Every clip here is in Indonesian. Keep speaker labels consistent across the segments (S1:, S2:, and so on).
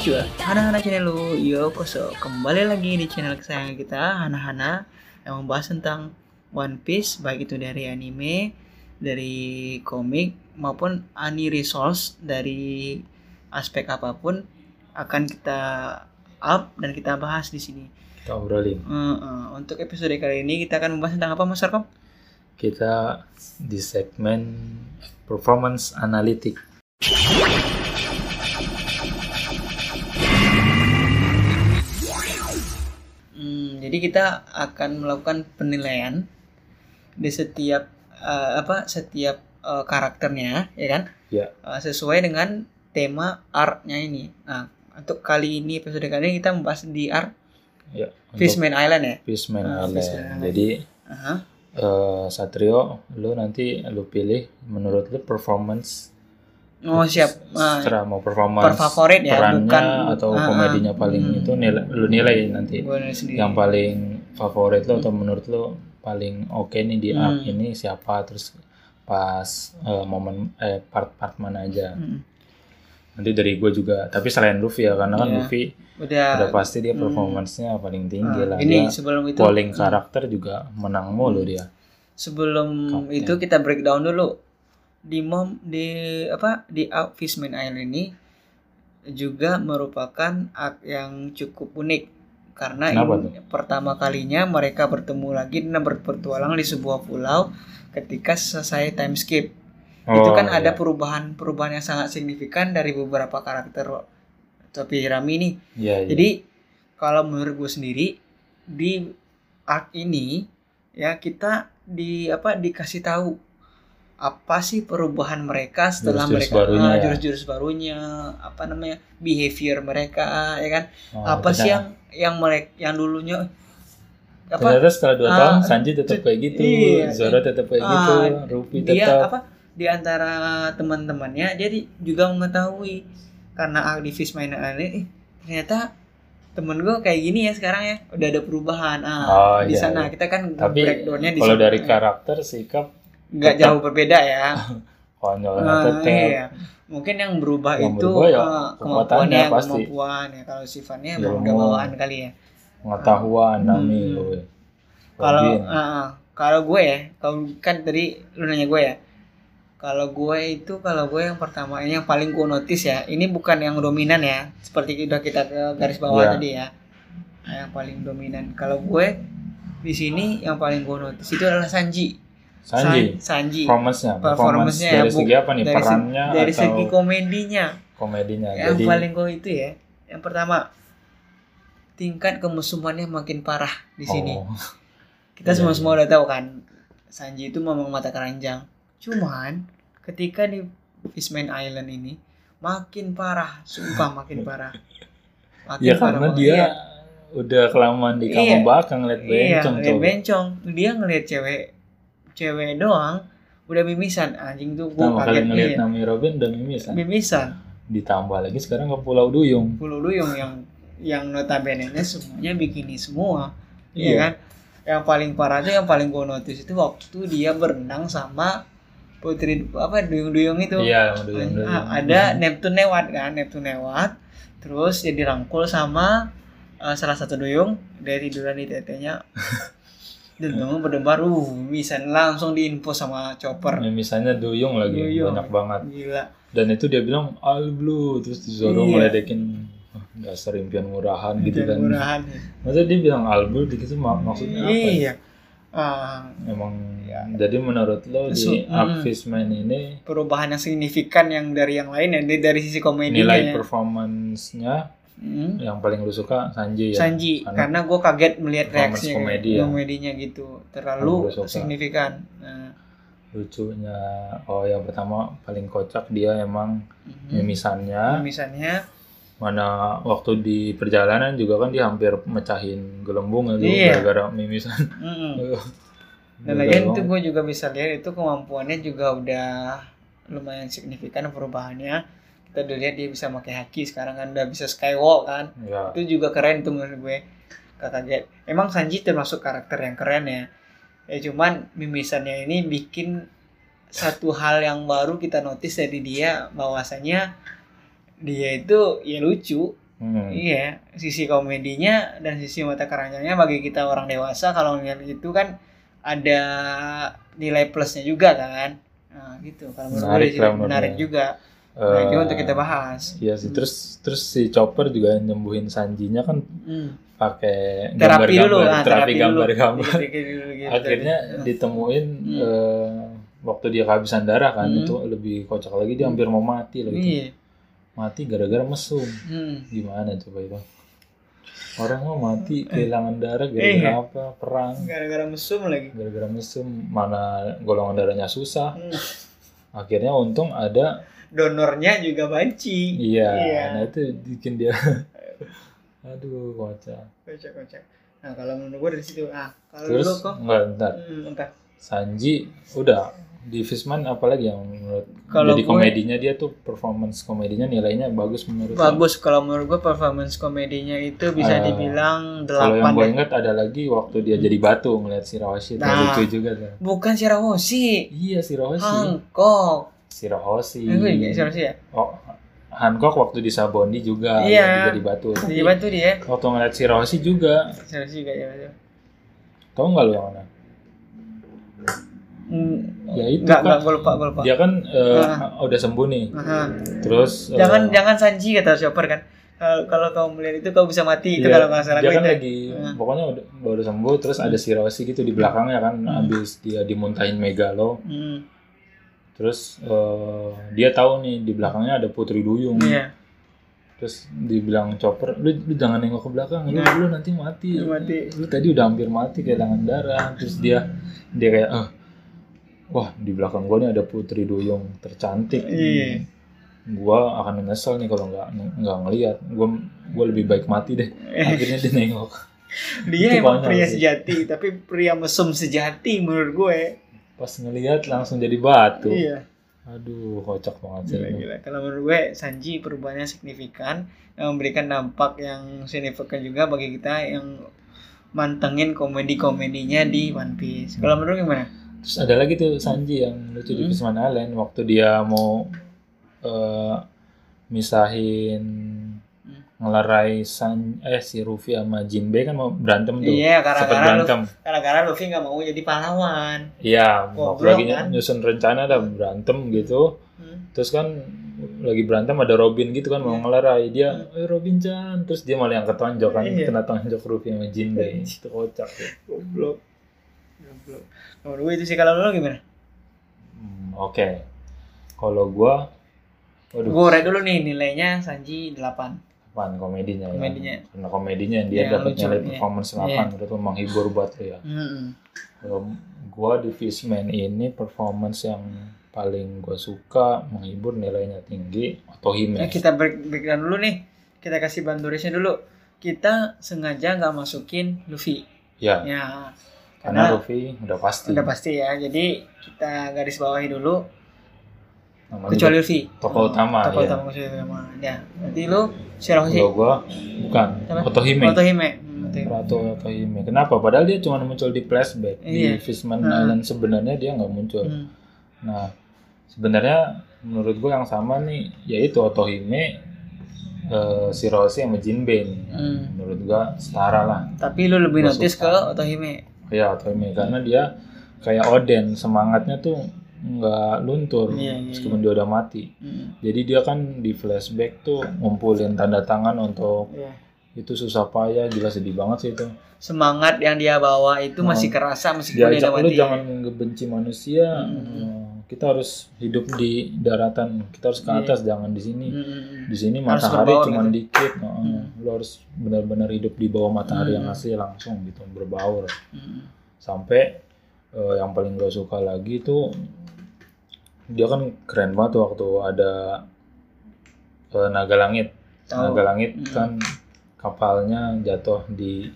S1: juga Hana-Hana Channel lu Yo koso Kembali lagi di channel kesayangan kita Hana-Hana Yang membahas tentang One Piece Baik itu dari anime Dari komik Maupun ani resource Dari aspek apapun Akan kita up Dan kita bahas di sini
S2: kita obrolin
S1: Eh, eh, Untuk episode kali ini Kita akan membahas tentang apa Mas Arkom?
S2: kita di segmen performance analytic
S1: Hmm, jadi kita akan melakukan penilaian di setiap eh, apa setiap eh, karakternya, ya kan?
S2: Ya.
S1: Eh, sesuai dengan tema art-nya ini. Nah, untuk kali ini episode kali ini kita membahas di art
S2: untuk
S1: Fishman Island ya.
S2: Fishman
S1: Ah,
S2: Island.
S1: Fishman Island.
S2: Jadi
S1: Aha.
S2: eh, Satrio, lu nanti lu pilih menurut lu performance
S1: Oh siap. Nah,
S2: secara mau performance
S1: Terfavorit ya,
S2: perannya
S1: bukan ah,
S2: atau
S1: ah.
S2: komedinya paling
S1: Hmm.
S2: itu nilai, lu nilai
S1: gue
S2: nanti
S1: nulis sendiri.
S2: yang paling favorit lo atau menurut lo paling oke nih di art
S1: Hmm.
S2: ini siapa terus pas eh, momen eh, part-part mana aja
S1: Hmm.
S2: nanti dari gue juga tapi selain Luffy ya karena kan
S1: Iya.
S2: Luffy udah
S1: Udah.
S2: pasti dia
S1: hmm.
S2: performance-nya paling tinggi
S1: Ah,
S2: lah
S1: ini
S2: dia
S1: sebelum itu
S2: polling
S1: hmm,
S2: karakter juga menang mulu dia
S1: sebelum
S2: Kapten.
S1: itu kita breakdown dulu di mom di apa di Out Fishman Island ini juga merupakan art yang cukup unik karena
S2: Kenapa
S1: ini pertama kalinya mereka bertemu lagi dan ber- berpetualang di sebuah pulau ketika selesai time skip itu
S2: Oh,
S1: kan ada
S2: iya.
S1: perubahan-perubahan yang sangat signifikan dari beberapa karakter tapi Rami nih
S2: Iya, iya.
S1: jadi kalau menurut gue sendiri di art ini ya kita di apa dikasih tahu apa sih perubahan mereka setelah
S2: Jurus-jurus
S1: mereka
S2: barunya
S1: ah,
S2: ya.
S1: jurus-jurus barunya apa namanya behavior mereka ya kan
S2: Oh,
S1: apa sih
S2: ternyata-
S1: yang yang mereka yang dulunya apa
S2: ternyata setelah dua
S1: Ah,
S2: tahun Sanji tetap kayak gitu
S1: iya.
S2: Zoro tetap kayak
S1: Ah,
S2: gitu Rupi
S1: dia
S2: tetap
S1: apa di antara teman-temannya jadi juga mengetahui karena aktivis mainan ini eh, ternyata temen gue kayak gini ya sekarang ya udah ada perubahan ah
S2: Oh,
S1: di
S2: iya,
S1: sana
S2: iya.
S1: kita kan
S2: tapi
S1: breakdownnya di
S2: kalau
S1: sana.
S2: dari karakter sikap
S1: nggak jauh berbeda ya
S2: konyolnya
S1: Ah,
S2: tetap
S1: iya. mungkin yang berubah
S2: Yang
S1: itu
S2: berubah ya
S1: ah,
S2: kekuatannya
S1: kemampuannya
S2: pasti.
S1: kemampuan ya kalau sifatnya
S2: Ya,
S1: emang udah
S2: mau.
S1: bawaan kali ya
S2: pengetahuan
S1: Hmm.
S2: Nami gue.
S1: kalau
S2: Robin.
S1: ah, ah. kalau gue ya kalau kan tadi lu nanya gue ya kalau gue itu kalau gue yang pertama ini yang paling gue notice ya ini bukan yang dominan ya seperti udah kita ke garis bawah
S2: Iya.
S1: tadi ya Nah, yang paling dominan kalau gue di sini yang paling gue notice itu adalah Sanji San-
S2: Sanji
S1: Sanji
S2: performance-nya performance
S1: Performance-nya
S2: dari
S1: ya, Bu.
S2: segi apa nih
S1: dari, se-
S2: perannya
S1: dari
S2: atau
S1: segi komedinya
S2: komedinya
S1: yang
S2: jadi
S1: paling gue itu ya yang pertama tingkat kemusuhannya makin parah di sini
S2: oh,
S1: kita
S2: Iya,
S1: semua
S2: iya.
S1: semua udah tahu kan Sanji itu memang mata keranjang cuman ketika di Fishman Island ini makin parah sumpah makin parah makin
S2: ya karena
S1: banget.
S2: dia udah kelamaan di kamar
S1: Iya.
S2: belakang ngeliat
S1: iya,
S2: bencong
S1: ngeliat
S2: tuh
S1: bencong dia ngeliat cewek cewek doang udah mimisan anjing tuh gua
S2: pertama kali
S1: kaget iya.
S2: ngeliat
S1: nih
S2: Nami Robin udah mimisan
S1: mimisan
S2: ditambah lagi sekarang ke Pulau Duyung
S1: bulu duyung yang yang notabene nya semuanya bikini semua Iya
S2: Iya.
S1: kan? Yang paling parah itu yang paling gue notice itu waktu dia berenang sama putri apa duyung-duyung itu.
S2: iya sama
S1: Ah,
S2: Duyung Duyung Mhm.
S1: ada Neptune lewat kan, Neptune lewat. Terus dia dirangkul sama eh, salah satu duyung dari tiduran di tetenya. Dan bangun berdebar, uh, bisa langsung diinfo sama chopper.
S2: mimisannya Duyung lagi
S1: Duyung.
S2: banyak banget
S1: Gila.
S2: dan itu dia bilang all blue terus Zoro
S1: Iya.
S2: ngeledekin "Ah, dasar impian murahan gitu
S1: Dan
S2: kan
S1: murahan.
S2: maksudnya dia bilang all blue gitu mak- maksudnya apa ya?
S1: Iya. Ah,
S2: Emang jadi menurut lo
S1: Su-
S2: di
S1: mm.
S2: Upfishman ini
S1: perubahan yang signifikan yang dari yang lain ya dari- dari sisi komedinya ya.
S2: nilai performance-nya
S1: Hmm.
S2: yang paling lu suka Sanji ya.
S1: Sanji karena,
S2: Karena-
S1: gue kaget melihat
S2: Performance
S1: reaksinya
S2: komedi
S1: kayak
S2: ya.
S1: komedinya gitu terlalu
S2: Karena gua suka.
S1: signifikan nah,
S2: Lucunya oh yang pertama paling kocak dia emang
S1: mhm.
S2: mimisannya.
S1: misalnya
S2: Mana waktu di perjalanan juga kan dia hampir mecahin gelembung itu
S1: Iya.
S2: gara-gara mimisan.
S1: mhm.
S2: Aduh.
S1: dan
S2: Gila
S1: lagian itu
S2: banget.
S1: gue juga bisa lihat itu kemampuannya juga udah lumayan signifikan perubahannya kita udah lihat dia bisa pakai haki sekarang kan udah bisa skywalk kan
S2: ya.
S1: itu juga keren tuh menurut gue kakak Get. emang Sanji termasuk karakter yang keren ya ya cuman mimisannya ini bikin satu hal yang baru kita notice dari dia bahwasanya dia itu ya lucu
S2: Hmm.
S1: Iya, sisi komedinya dan sisi mata keranjangnya bagi kita orang dewasa kalau ngeliat itu kan ada nilai plusnya juga kan. Nah, gitu. Kalau menurut
S2: Menarik
S1: gue sih
S2: lah menurut
S1: menarik
S2: gue.
S1: juga. Nah,
S2: Eh,
S1: itu untuk kita bahas.
S2: Iya sih. Terus terus si Chopper juga nyembuhin Sanjinya kan
S1: Hmm.
S2: pakai
S1: Terapi dulu,
S2: gambar-gambar,
S1: ah,
S2: terapi
S1: dulu.
S2: gambar-gambar.
S1: Dikit-dikit dulu gitu.
S2: Akhirnya ditemuin
S1: Hmm.
S2: eh, waktu dia kehabisan darah kan
S1: Hmm.
S2: itu lebih kocak lagi dia hampir mau mati loh itu.
S1: Iya.
S2: Mati gara-gara mesum.
S1: Hmm.
S2: Gimana coba itu? Orang mau
S1: Eh.
S2: mati kehilangan darah gara-gara
S1: Iya.
S2: apa? Perang.
S1: Gara-gara mesum lagi.
S2: Gara-gara mesum mana golongan darahnya susah.
S1: Hmm.
S2: Akhirnya untung ada
S1: Donornya juga banci.
S2: iya.
S1: Iya.
S2: Nah itu bikin dia aduh kocak.
S1: Kocak-kocak. Nah, kalau menurut gue dari situ. Ah, kalau dulu
S2: Terus
S1: kok
S2: enggak bentar.
S1: hmm, entah.
S2: Sanji udah di Fishman apalagi yang menurut
S1: Kalau gue-
S2: jadi komedinya dia tuh performance komedinya nilainya bagus menurut gue.
S1: bagus kalau menurut gue performance komedinya itu bisa
S2: Ah,
S1: dibilang
S2: Kalau yang gue
S1: delapan deh.
S2: inget ada lagi waktu dia jadi batu ngeliat si Rawashi itu
S1: Nah.
S2: lucu juga tuh.
S1: bukan Shirahoshi
S2: Iya si Rawashi.
S1: Ah. Hancock
S2: Si Rawashi.
S1: itu juga Shirahoshi ya
S2: Oh, Hancock waktu di Sabondi juga
S1: Iya.
S2: dia jadi batu.
S1: dia bantu dia
S2: Waktu ngeliat si Rawashi juga.
S1: Shirahoshi juga ya, dia bantu
S2: Tahu nggak lu yang mana?
S1: Hmm,
S2: Ya itu
S1: nggak
S2: kan.
S1: nggak gue lupa gue lupa
S2: Dia kan eh,
S1: Ah. kan
S2: udah sembuh nih.
S1: Aha.
S2: Terus eh,
S1: jangan jangan Sanji kata shopper kan Kalau- kalau kamu melihat itu kamu bisa mati itu
S2: Iya,
S1: kalau nggak salah Ah. Nah.
S2: dia
S1: gue
S2: kan
S1: itu.
S2: lagi pokoknya udah, baru sembuh terus ada si Rossi gitu di belakangnya kan
S1: Ah.
S2: habis dia dimuntahin Megalo
S1: Hmm,
S2: terus eh, dia tahu nih di belakangnya ada Putri Duyung
S1: iya
S2: terus dibilang Chopper lu, lu jangan nengok ke belakang lu,
S1: Nah.
S2: lu nanti mati
S1: Lu mati.
S2: lu tadi udah hampir mati kehilangan darah terus dia dia kayak "Eh, wah di belakang gua nih ada Putri Duyung tercantik
S1: Iya.
S2: gua akan menyesal nih kalau nggak nggak ngelihat gua gua lebih baik mati deh
S1: Eh.
S2: akhirnya dia nengok
S1: dia
S2: Hmm. Itu
S1: emang
S2: konyol
S1: pria
S2: sih.
S1: sejati tapi pria mesum sejati menurut gue
S2: pas ngelihat langsung jadi batu.
S1: iya
S2: Aduh, kocak banget sih.
S1: Gila, gila. Kalau menurut gue Sanji perubahannya signifikan yang memberikan dampak yang signifikan juga bagi kita yang mantengin komedi-komedinya di One Piece. Kalau menurut gimana?
S2: Terus ada lagi tuh Sanji yang lucu di
S1: Hmm.
S2: Fishman Island waktu dia mau eh, misahin
S1: Hmm.
S2: ngelerai San eh si Luffy sama Jinbei kan mau berantem tuh.
S1: Iya,
S2: Sempet
S1: gara-gara Luffy,
S2: berantem.
S1: gara-gara Luffy nggak mau jadi pahlawan.
S2: Iya,
S1: Goblok,
S2: waktu lagi
S1: kan?
S2: nyusun rencana ada berantem gitu.
S1: Hmm.
S2: Terus kan lagi berantem ada Robin gitu kan mau
S1: Iya.
S2: ngelerai dia, eh Robin Chan. Terus dia malah yang ketonjok kan,
S1: Iya.
S2: kena tonjok Luffy sama Jinbei. Itu kocak tuh.
S1: Goblok. Goblok. Kalau menurut gue itu sih kalau menurut lo gimana?
S2: Hmm, Oke. Kalau gua waduh,
S1: Gue rate dulu nih nilainya Sanji 8.
S2: apaan komedinya ya?
S1: Komedinya.
S2: Karena komedinya dia
S1: Yang
S2: dapat
S1: lucu,
S2: nilai
S1: iya.
S2: performance 8
S1: Iya.
S2: menurut gua menghibur buat lu ya.
S1: Hmm.
S2: Kalau gua di Fishman ini performance yang paling gua suka, menghibur nilainya tinggi atau
S1: Ya,
S2: Hime.
S1: kita break breakdown dulu nih. Kita kasih bandurisnya dulu. Kita sengaja nggak masukin Luffy.
S2: Ya,
S1: Ya.
S2: karena Luffy udah pasti.
S1: Udah pasti ya. Jadi kita garis bawahi dulu
S2: Namanya
S1: kecuali Luffy. Hmm,
S2: tokoh utama,
S1: Tokoh
S2: iya.
S1: utama kecuali utama. Ya. Nanti lu Shirahoshi
S2: kalau gua bukan
S1: Apa?
S2: Otohime.
S1: Otohime. Hmm, Otohime.
S2: Ratu Otohime. Kenapa? Padahal dia cuma muncul di flashback
S1: Iya.
S2: di Fishman
S1: Hmm.
S2: Island sebenarnya dia nggak muncul.
S1: Hmm.
S2: Nah, sebenarnya menurut gue yang sama nih, yaitu Otohime, eh, Shiroshi sama Jinbei nih.
S1: Hmm.
S2: Menurut gue setara lah.
S1: Tapi lu lebih
S2: Gua
S1: notice ke
S2: suka.
S1: Otohime.
S2: Ya Otohime, karena dia kayak Oden, semangatnya tuh nggak luntur
S1: Iya, iya,
S2: meskipun dia udah mati.
S1: Hmm.
S2: Jadi dia kan di flashback tuh ngumpulin tanda tangan untuk
S1: Iya.
S2: itu susah payah, gila sedih banget sih itu.
S1: Semangat yang dia bawa itu
S2: Hmm.
S1: masih kerasa meskipun dia
S2: Diajak
S1: udah
S2: lu
S1: mati.
S2: jangan ngebenci manusia,
S1: Hmm.
S2: eh, kita harus hidup di daratan, kita harus ke
S1: Iya.
S2: atas, jangan di sini.
S1: Hmm, hmm, hmm.
S2: di sini
S1: Harus
S2: matahari
S1: berbaur
S2: cuma
S1: gitu.
S2: dikit heeh.
S1: Hmm.
S2: lu harus benar-benar hidup di bawah matahari yang
S1: Hmm.
S2: asli langsung gitu berbaur
S1: Hmm.
S2: sampai eh, yang paling gue suka lagi tuh dia kan keren banget tuh waktu ada eh, naga langit
S1: Tahu.
S2: naga langit
S1: Hmm.
S2: kan kapalnya jatuh di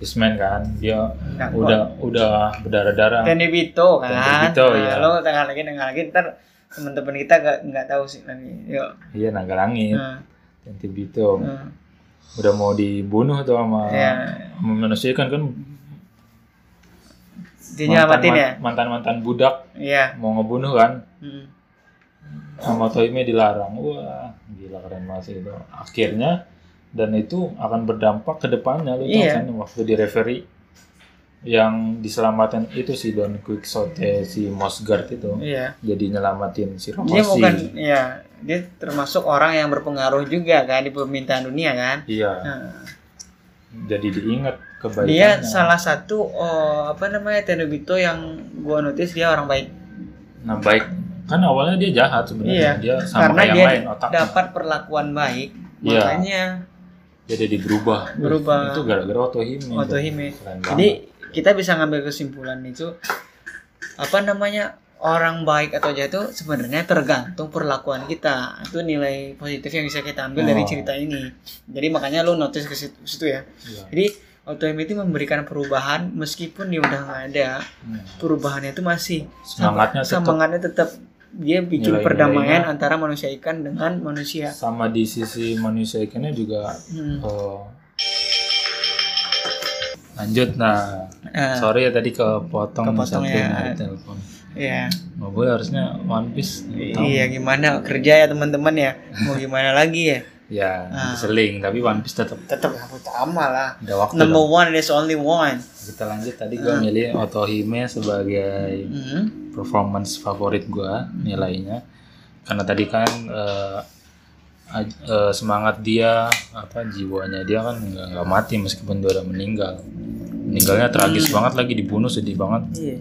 S2: Fishman kan dia
S1: Nah,
S2: udah udah berdarah-darah
S1: Tenebito kan.
S2: Tenebito,
S1: nah,
S2: iya.
S1: Lo tengah lagi tengah lagi ntar teman-teman kita nggak nggak tahu sih nanti. Yuk.
S2: iya naga langit
S1: Nah,
S2: dan Tibito
S1: nah.
S2: udah mau dibunuh tuh sama
S1: Ya.
S2: sama manusia kan kan
S1: Dia nyelamatin ya.
S2: mantan mantan budak
S1: Iya.
S2: mau ngebunuh kan
S1: Hmm.
S2: sama Toime dilarang wah gila keren banget sih itu akhirnya dan itu akan berdampak ke depannya lu
S1: Iya.
S2: tahu kan waktu di referee yang diselamatkan itu si Don Quixote si Mosgard itu
S1: Iya.
S2: jadi nyelamatin si
S1: Dia bukan
S2: Rossi
S1: ya, dia termasuk orang yang berpengaruh juga kan di pemerintahan dunia kan.
S2: iya
S1: Nah,
S2: jadi diingat kebaikannya
S1: dia salah satu oh, apa namanya Tenobito yang gua notice dia orang baik.
S2: nah baik kan awalnya dia jahat sebenarnya
S1: Iya.
S2: dia sama
S1: Karena
S2: kayak
S1: dia
S2: lain otaknya
S1: Dapat perlakuan baik,
S2: Iya.
S1: makanya
S2: dia jadi berubah
S1: Berubah.
S2: itu gara-gara Otohime itu.
S1: Otohime.
S2: Keren
S1: Jadi
S2: banget.
S1: kita bisa ngambil kesimpulan itu apa namanya orang baik atau jahat itu sebenarnya tergantung perlakuan kita. Itu nilai positif yang bisa kita ambil dari
S2: Oh.
S1: cerita ini. Jadi makanya lu notice ke situ, situ ya.
S2: Iya.
S1: Jadi autoimmune itu memberikan perubahan meskipun dia udah nggak ada
S2: Hmm.
S1: perubahannya itu masih
S2: semangatnya tetap
S1: semangatnya tetap dia bikin
S2: Nilai-nilainya.
S1: perdamaian antara manusia ikan dengan manusia.
S2: sama di sisi manusia ikannya juga
S1: Hmm.
S2: eh, lanjut nah
S1: Eh,
S2: sorry ya tadi kepotong
S1: Kepotong
S2: satu
S1: ya.
S2: dari telepon
S1: iya.
S2: nggak boleh harusnya One Piece tahu.
S1: Iya gimana kerja ya teman-teman ya. Mau gimana lagi ya?
S2: ya
S1: Ah.
S2: seling tapi One Piece tetap
S1: Tetap utama lah.
S2: ada waktu
S1: Number
S2: dong.
S1: one is only one.
S2: kita lanjut tadi
S1: Ah.
S2: gue milih Otohime sebagai
S1: Hmm.
S2: performance favorit gua nilainya karena tadi kan eh, aj- eh, semangat dia apa jiwanya dia kan nggak nggak mati meskipun dia udah meninggal meninggalnya tragis banget lagi dibunuh sedih banget
S1: Iya.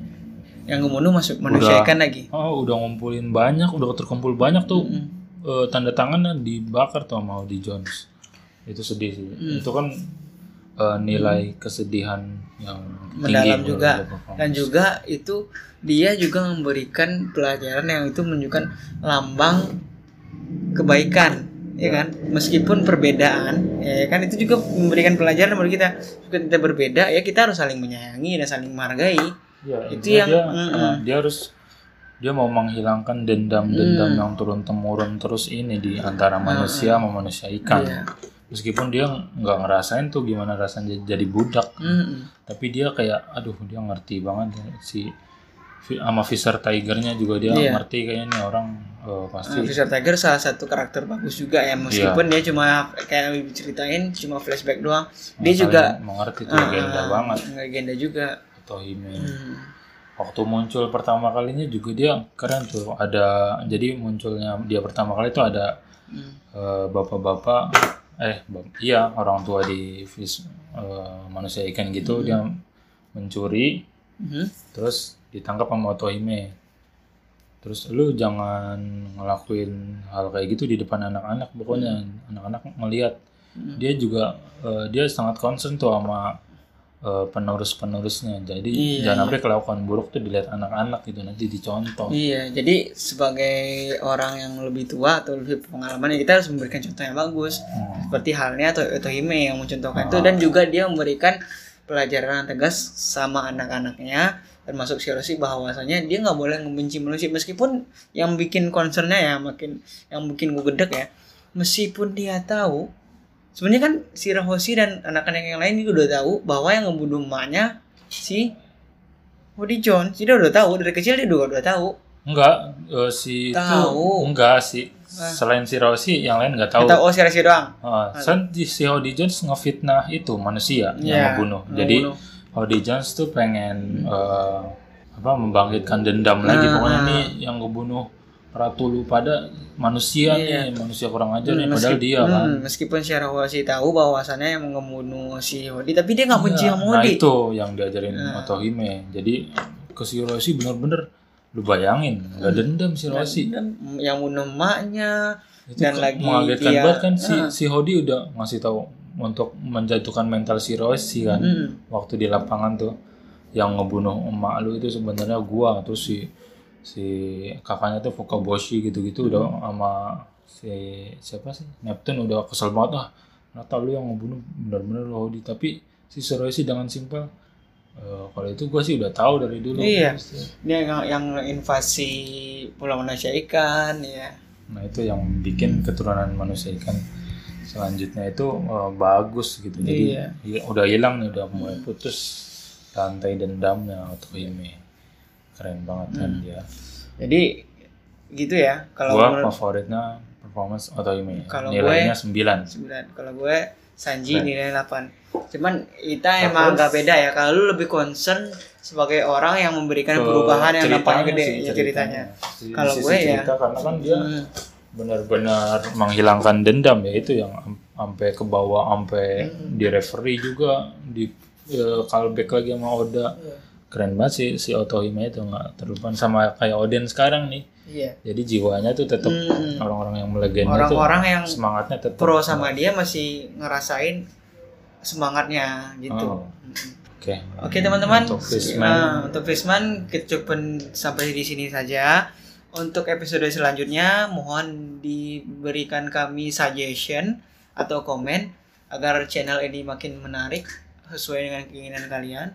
S1: Yang ngebunuh masuk manusia
S2: Udah.
S1: ikan lagi.
S2: oh udah ngumpulin banyak udah terkumpul banyak tuh
S1: Hmm.
S2: eh, tanda tangannya dibakar tuh mau di Jones itu sedih sih
S1: Hmm.
S2: itu kan eh, nilai kesedihan yang tinggi
S1: Mendalam
S2: menurut
S1: juga.
S2: gua performance.
S1: Dan juga itu dia juga memberikan pelajaran yang itu menunjukkan lambang kebaikan, ya kan? Meskipun perbedaan, ya kan itu juga memberikan pelajaran bagi kita. Meskipun kita berbeda, ya kita harus saling menyayangi dan saling menghargai.
S2: Ya,
S1: Itu
S2: intinya
S1: yang-
S2: dia,
S1: mm-mm.
S2: eh, dia harus dia mau menghilangkan dendam-dendam
S1: Hmm.
S2: yang turun temurun terus ini di antara manusia sama manusia ikan.
S1: Iya.
S2: Meskipun dia nggak ngerasain tuh gimana rasanya jadi budak,
S1: Mm-mm.
S2: tapi dia kayak aduh dia ngerti banget ya, si fi- sama Fisher Tigernya juga dia
S1: Iya.
S2: ngerti kayaknya nih orang eh, pasti
S1: Uh, Fisher Tiger salah satu karakter bagus juga ya
S2: Iya.
S1: meskipun dia cuma kayak yang diceritain cuma flashback doang dia
S2: ngerasain-
S1: juga
S2: mengerti tuh
S1: uh,
S2: legenda banget
S1: legenda juga
S2: Tohime.
S1: Hmm.
S2: Waktu muncul pertama kalinya juga dia keren tuh ada jadi munculnya dia pertama kali itu ada
S1: Hmm.
S2: Eh, bapak-bapak eh bap- iya orang tua di fish- eh, manusia ikan
S1: Hmm.
S2: gitu dia mencuri
S1: Mhm.
S2: terus ditangkap sama Otohime terus lu jangan ngelakuin hal kayak gitu di depan anak-anak pokoknya anak-anak melihat
S1: Hmm.
S2: dia juga eh, dia sangat concern tuh sama eh, penerus-penerusnya jadi
S1: Iya,
S2: jangan
S1: iya.
S2: sampai kelakuan buruk tuh dilihat anak-anak gitu nanti dicontoh
S1: Iya, jadi sebagai orang yang lebih tua atau lebih pengalaman ya kita harus memberikan contoh yang bagus.
S2: Hmm.
S1: Seperti halnya atau Otohime yang mencontohkan itu
S2: Ah.
S1: dan juga dia memberikan pelajaran yang tegas sama anak-anaknya termasuk Shiroshi bahwasanya dia nggak boleh membenci manusia meskipun yang bikin concernnya ya makin yang bikin gue gedek ya meskipun dia tahu sebenarnya kan si Rahoshi dan anak-anak yang lain juga udah tahu bahwa yang ngebunuh emaknya si Woody Jones dia udah tahu dari kecil dia juga udah tahu
S2: Enggak, eh, si itu-
S1: Tahu.
S2: enggak si
S1: Ah.
S2: selain si Rossi yang lain enggak tahu.
S1: Kita oh Shiroshi doang
S2: Ah, kan di- si Howdy Jones ngefitnah itu manusia
S1: Iya,
S2: yang membunuh. Jadi
S1: ngebunuh.
S2: Howdy Jones tuh pengen eh, apa membangkitkan dendam lagi
S1: Ah,
S2: pokoknya
S1: ah.
S2: nih yang ngebunuh ratu lu pada manusia
S1: Iya.
S2: nih, manusia kurang ajar nih
S1: Hmm,
S2: padahal
S1: meskip-
S2: dia kan.
S1: hmm, meskipun si Rahoshi tahu bahwasannya yang membunuh si Hodi tapi dia nggak benci
S2: Iya,
S1: sama
S2: Nah,
S1: Hodi
S2: itu yang diajarin
S1: Ah.
S2: Otohime. Jadi ke si Rossi bener-bener lu bayangin, enggak
S1: Hmm.
S2: dendam si Rossi.
S1: Dan yang bunuh emaknya
S2: itu
S1: Dan
S2: ke-
S1: lagi
S2: mengagetkan
S1: dia-
S2: banget kan si
S1: Heeh.
S2: si Hody udah ngasih tahu untuk menjatuhkan mental si Rossi kan
S1: Hmm.
S2: waktu di lapangan tuh yang ngebunuh emak lu itu sebenarnya gua terus si si kakaknya tuh Fukaboshi gitu-gitu udah sama si siapa sih Neptune udah kesel banget lah ternyata lu yang ngebunuh benar-benar lu Hody tapi si Rossi dengan simpel "Eh, kalau itu gua sih udah tahu dari dulu
S1: Iya.
S2: Terus,
S1: dia yang, yang invasi pulau manusia ikan ya
S2: Nah itu yang bikin keturunan manusia ikan selanjutnya itu eh, bagus gitu. Jadi
S1: Iya.
S2: hi- udah hilang nih udah mulai putus rantai dendamnya Otohime. Keren banget kan
S1: Hmm.
S2: dia.
S1: jadi gitu ya kalau
S2: Gua
S1: menurut
S2: favoritnya performance Otohime.
S1: Kalau
S2: Nilainya 9.
S1: sembilan kalau gue Sanji
S2: Keren.
S1: nilai 8 cuman kita
S2: Nah,
S1: emang agak
S2: terus-
S1: beda ya kalau lu lebih concern sebagai orang yang memberikan perubahan yang
S2: Ceritanya
S1: nampaknya gede
S2: sih,
S1: ya ceritanya
S2: Sisi-
S1: Kalau
S2: sisi
S1: gue ya-
S2: cerita, karena kan dia
S1: Hmm.
S2: benar-benar menghilangkan dendam ya itu yang am- sampai ke bawah sampai
S1: Hmm.
S2: di referee juga di eh, callback lagi sama Oda
S1: Iya.
S2: keren banget sih si Otohime itu nggak terlupakan sama kayak Oden sekarang nih
S1: iya
S2: jadi jiwanya tuh tetap
S1: Hmm.
S2: orang-orang yang melegenda tuh
S1: orang-orang yang
S2: semangatnya tetap
S1: pro sama dia masih ngerasain semangatnya gitu
S2: Oh.
S1: Mm-mm.
S2: oke
S1: Oke teman-teman,
S2: Untuk Fishman.
S1: Nah, untuk Fishman kecukupan sampai di sini saja. Untuk episode selanjutnya mohon diberikan kami suggestion atau komen agar channel ini makin menarik sesuai dengan keinginan kalian.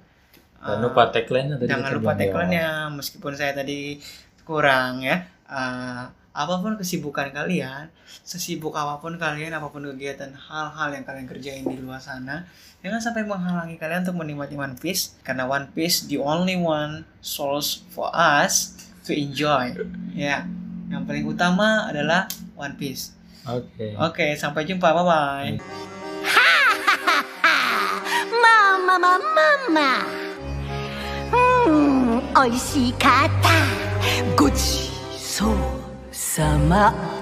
S2: jangan
S1: Eh,
S2: lupa tagline-nya tadi
S1: jangan
S2: kita
S1: lupa
S2: belum jawab.
S1: tagline-nya meskipun saya tadi kurang ya Eh, apapun kesibukan kalian sesibuk apapun kalian apapun kegiatan hal-hal yang kalian kerjain di luar sana jangan sampai menghalangi kalian untuk menikmati One Piece karena One Piece the only one source for us to enjoy ya yang paling utama adalah One Piece
S2: oke
S1: oke Ya. sampai jumpa bye bye
S3: ママママうん美味しかったごちそうさま